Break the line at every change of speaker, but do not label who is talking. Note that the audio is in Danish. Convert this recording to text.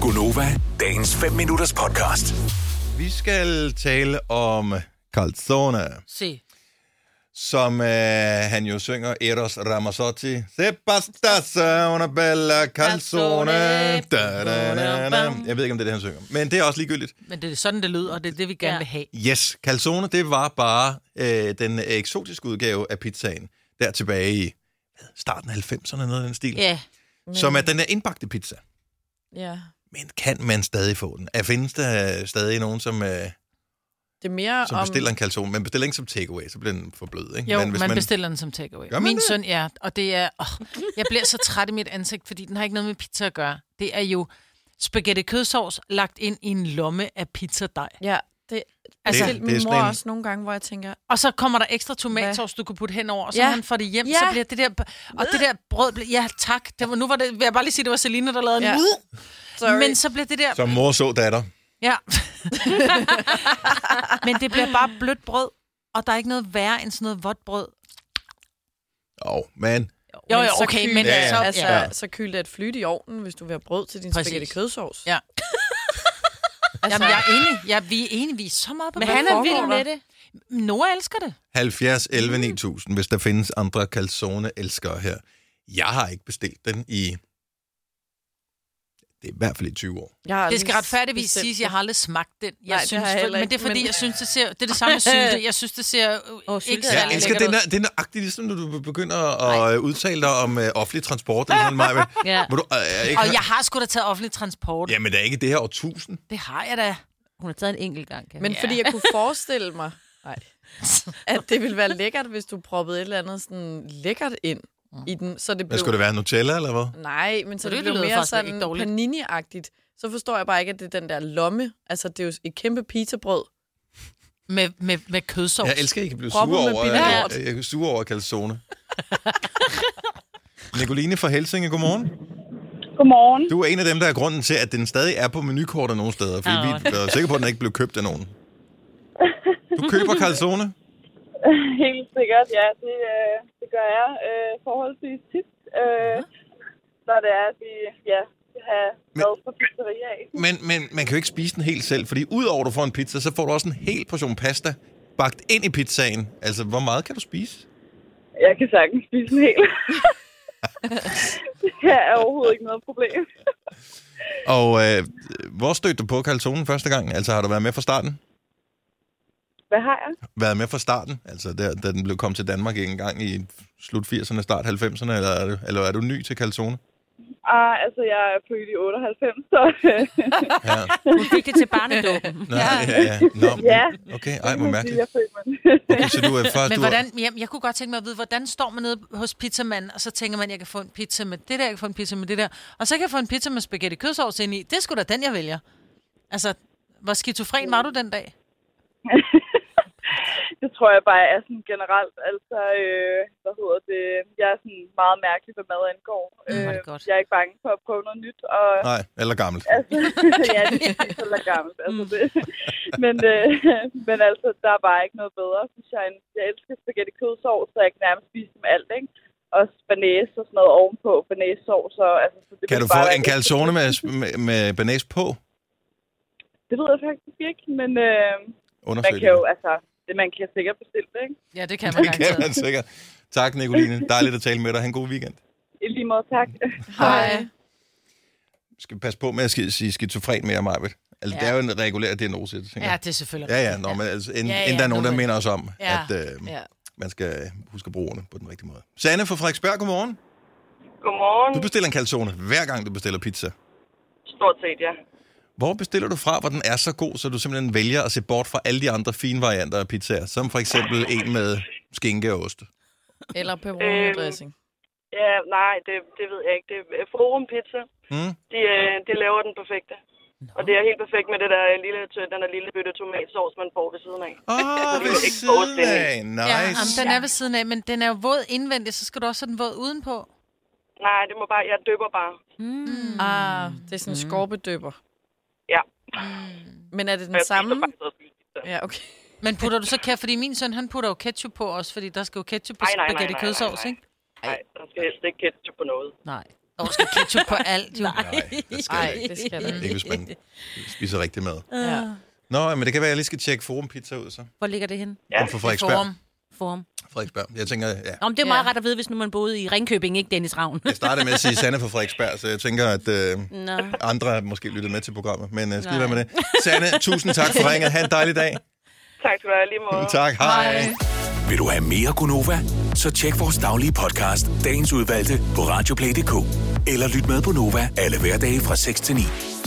Gunova, dagens 5 minutters podcast.
Vi skal tale om Calzone,
Se.
som øh, han jo synger Eros Ramazzotti. Se basta se una bella calzone. Da, da, da, da. Jeg ved ikke, om det er det, han synger. Men det er også ligegyldigt.
Men det er sådan, det lyder, og det er det, vi gerne
Ja.
vil have.
Yes, calzone, det var bare øh, den eksotiske udgave af pizzaen. Der tilbage i hvad, starten af 90'erne, noget af den stil.
Ja,
Som er den der indbagte pizza.
Ja.
Men kan man stadig få den? Er, findes der øh, stadig nogen, som, øh,
Det er mere
som
om...
bestiller en calzone? Man bestiller ikke som takeaway, så bliver den for blød, ikke?
jo, man, man bestiller den som takeaway.
Gør man
Min
det?
søn er, og det er... Åh, jeg bliver så træt i mit ansigt, fordi den har ikke noget med pizza at gøre. Det er jo spaghetti kødsovs lagt ind i en lomme af pizzadej.
Ja, det,
Altså,
altså,
det
det,
er
min mor
sådan en-
også nogle gange, hvor jeg tænker,
Og så kommer der ekstra tomatsovs, du kan putte hen over, og så
Ja.
ja. han får det hjem, ja.
Ja.
så bliver det der... Og det der brød... Ble, ja, tak. Det var, nu var det, vil jeg bare lige sige, det var Selina, der lavede ja.
Ja.
en...
sorry.
Men så bliver det der...
Som mor så datter.
Ja. Men det bliver bare blødt brød, og der er ikke noget værre end sådan noget vådt brød.
Åh, oh, men
Jo, jo,
Men så
okay,
kyl-
men
Ja,
ja,
ja.
så...
altså,
Ja.
så kyl det et flyt i ovnen, hvis du vil have brød til din
Præcis.
spaghetti kødsovs.
Ja.
altså,
Jamen, jeg er enig. Ja, vi er enige. Vi er så meget på
Men
banen.
han er vild med
det. Nora elsker det.
70, 11, 9000, hvis der findes andre calzone-elskere her. Jeg har ikke bestilt den i... Det er i hvert fald i 20 år.
jeg har
Det skal
aldrig
retfærdigvis
bestemt
siges, at jeg
det.
har aldrig smagt den. Jeg
Nej, det
synes,
har jeg heller
men det er
ikke,
fordi,
men-
jeg synes, det ser... Det er det samme med sylte. Jeg synes, det ser
Åh,
oh,
sylte
ikke
er
Jeg
særlig
dejligt.
elsker
lækkert
den
ud.
der, det er nøjagtigt, ligesom når du begynder at øh, udtale dig om øh, offentlig transport. Eller sådan mig,
Ja.
Må du, øh, jeg ikke,
Og jeg har sgu da taget offentlig transport.
Jamen, det er ikke det her årtusind.
Det har jeg da.
Hun har taget en enkelt gang, kan
Men
Men
fordi jeg kunne forestille mig, nej, at det ville være lækkert, hvis du proppede et eller andet sådan lækkert ind i den, så det
Hvad
blev...
skulle det være? Nutella, eller hvad?
Nej, men så
Og
det,
Mm. det
det blev
lyder
mere
faktisk
sådan
ikke dårligt.
panini-agtigt. Så forstår jeg bare ikke, at det er den der lomme. Altså, det er jo et kæmpe pizzabrød.
Med, med, med kødsovs.
Jeg elsker ikke at blive
Proppen
sur
med
over,
bitter
øh,
lort.
øh, jeg er sur over calzone. Nicoline fra Helsinge, godmorgen.
Godmorgen.
Du er en af dem, der er grunden til, at den stadig er på menukortet nogle steder, fordi oh. vi er sikre på, at den ikke blev købt af nogen. Du køber calzone?
Helt sikkert, ja. Det, øh, det gør jeg øh, forholdsvis tit, øh, når det er, at vi ja, skal have mad fra pizzeria af.
Men, men man kan jo ikke spise den helt selv, fordi udover at du får en pizza, så får du også en hel portion pasta bagt ind i pizzaen. Altså, hvor meget kan du spise?
Jeg kan sagtens spise en hel. det her er overhovedet ikke noget problem.
Og øh, hvor stødte du på calzonen første gang? Altså, har du været med fra starten?
Hvad har jeg?
Været med fra starten? Altså, der, da den blev kommet til Danmark en gang i slut 80'erne, start 90'erne, eller er du, eller er du ny til calzone?
Ah, altså, jeg er født i 98, så øh,
Ja.
hun fik det til barnedåben.
Nå, ja. ja, ja. Nå,
Ja.
Okay, ej, hvor
man sige,
mærkeligt.
jeg er født med den.
Okay, så du er først...
Men
du er-
hvordan, jeg, jeg kunne godt tænke mig at vide, hvordan står man nede hos pizzamanden, og så tænker man, jeg kan få en pizza med det der, jeg kan få en pizza med det der, og så kan jeg få en pizza med spaghetti kødsovs ind i. Det er sgu da den, jeg vælger. Altså, hvor skizofren var du den dag?
det tror jeg bare er sådan generelt. Altså, øh, hvad hedder det? Jeg er sådan meget mærkelig, hvad mad angår.
Mm, hvor er det
Øh,
godt.
jeg er ikke bange for at prøve noget nyt, og
Nej, eller gammelt.
Altså, ja, det er ikke så gammelt. Altså, det. Men, øh, men altså, der er bare ikke noget bedre, synes jeg. end- Jeg elsker spaghetti kødsovs, så jeg kan nærmest spise dem alt, ikke? Og banæs og sådan noget ovenpå, banæssovs. Og, altså, så det
Kan
vil
du få
bare
en
være-
calzone med, med, med banæs på?
Det ved jeg faktisk ikke, men øh, man
Undersøg
kan jo,
det.
altså, det, man kan sikkert bestille det, ikke?
Ja, det kan man
Det kan man
garanteret.
sikkert. Tak, Nicoline. Dejligt at tale med dig. Ha' en god weekend.
I lige måde, tak.
Mm.
Hej.
Skal vi passe på med at sk- sige skizofren med jer, Majbet? Altså, ja.
Ja.
det er jo en regulær diagnose, jeg tænker.
Ja,
Ja,
det er selvfølgelig.
ja, ja. Nå, men altså, inden, ja,
Ja,
ja,
ja,
inden der er nogen,
nu
der
er-
minder os om, ja.
Ja,
at øh, ja.
Ja.
man skal huske at bruge ordene på den rigtige måde. Sanne fra Frederiksberg, godmorgen.
Godmorgen.
Du bestiller en calzone, hver gang du bestiller pizza.
Stort set, ja.
Hvor bestiller du fra, hvor den er så god, så du simpelthen vælger at se bort fra alle de andre fine varianter af pizzaer? Som for eksempel en med skinke og ost.
Eller pepperoni-dressing.
Ja, nej, det, det ved jeg ikke. Det er Forum Pizza.
Mm.
De, øh, de laver den perfekte. Og det er helt perfekt med det der lille, tø- den der lille bøtte tomatsovs, man får ved siden af.
Åh, oh, ved
ikke
siden
forestille.
af.
Ja, jamen,
Nice.
den er ved siden af, men den er jo våd indvendigt, så skal du også have den våd udenpå.
Nej, det må bare, jeg døber bare.
Ah, det er sådan en skorpedøber.
Ja.
Men er det
Og
den
jeg spiser
samme?
bare sådan noget pizza.
Ja, okay.
Men putter du så kæft, fordi min søn, han putter jo ketchup på også, fordi der skal jo ketchup på
Ej, nej, nej,
spaghetti
nej, nej,
kødsovs,
nej.
ikke?
Nej, der skal helst ikke ketchup på noget.
Nej.
Og skal ketchup på alt, jo.
Nej, det skal
Nej,
jeg ikke.
det skal der.
Ikke hvis man spiser rigtig mad.
Ja.
Nå, men det kan være, at jeg lige skal tjekke Forum Pizza ud, så.
Hvor ligger det henne?
Ja, for Frederiksberg.
Forum.
Forum.
Form.
Frederiksberg. Jeg tænker, ja.
Nå, men det er
Ja.
meget ret at vide, hvis nu man boede i Ringkøbing, ikke Dennis Ravn.
Jeg startede med at sige Sanne fra Frederiksberg, så jeg tænker, at øh,
Nå.
andre måske lyttede med til programmet. Men øh, skal
Nej.
være med det. Sanne, tusind tak for ringet. Ha' en dejlig dag.
Tak skal du have lige måde.
Tak, hej. hej.
Vil du have mere Gunova? Så tjek vores daglige podcast, dagens udvalgte, på radioplay.dk. Eller lyt med på Nova alle hverdage fra 6 til 9.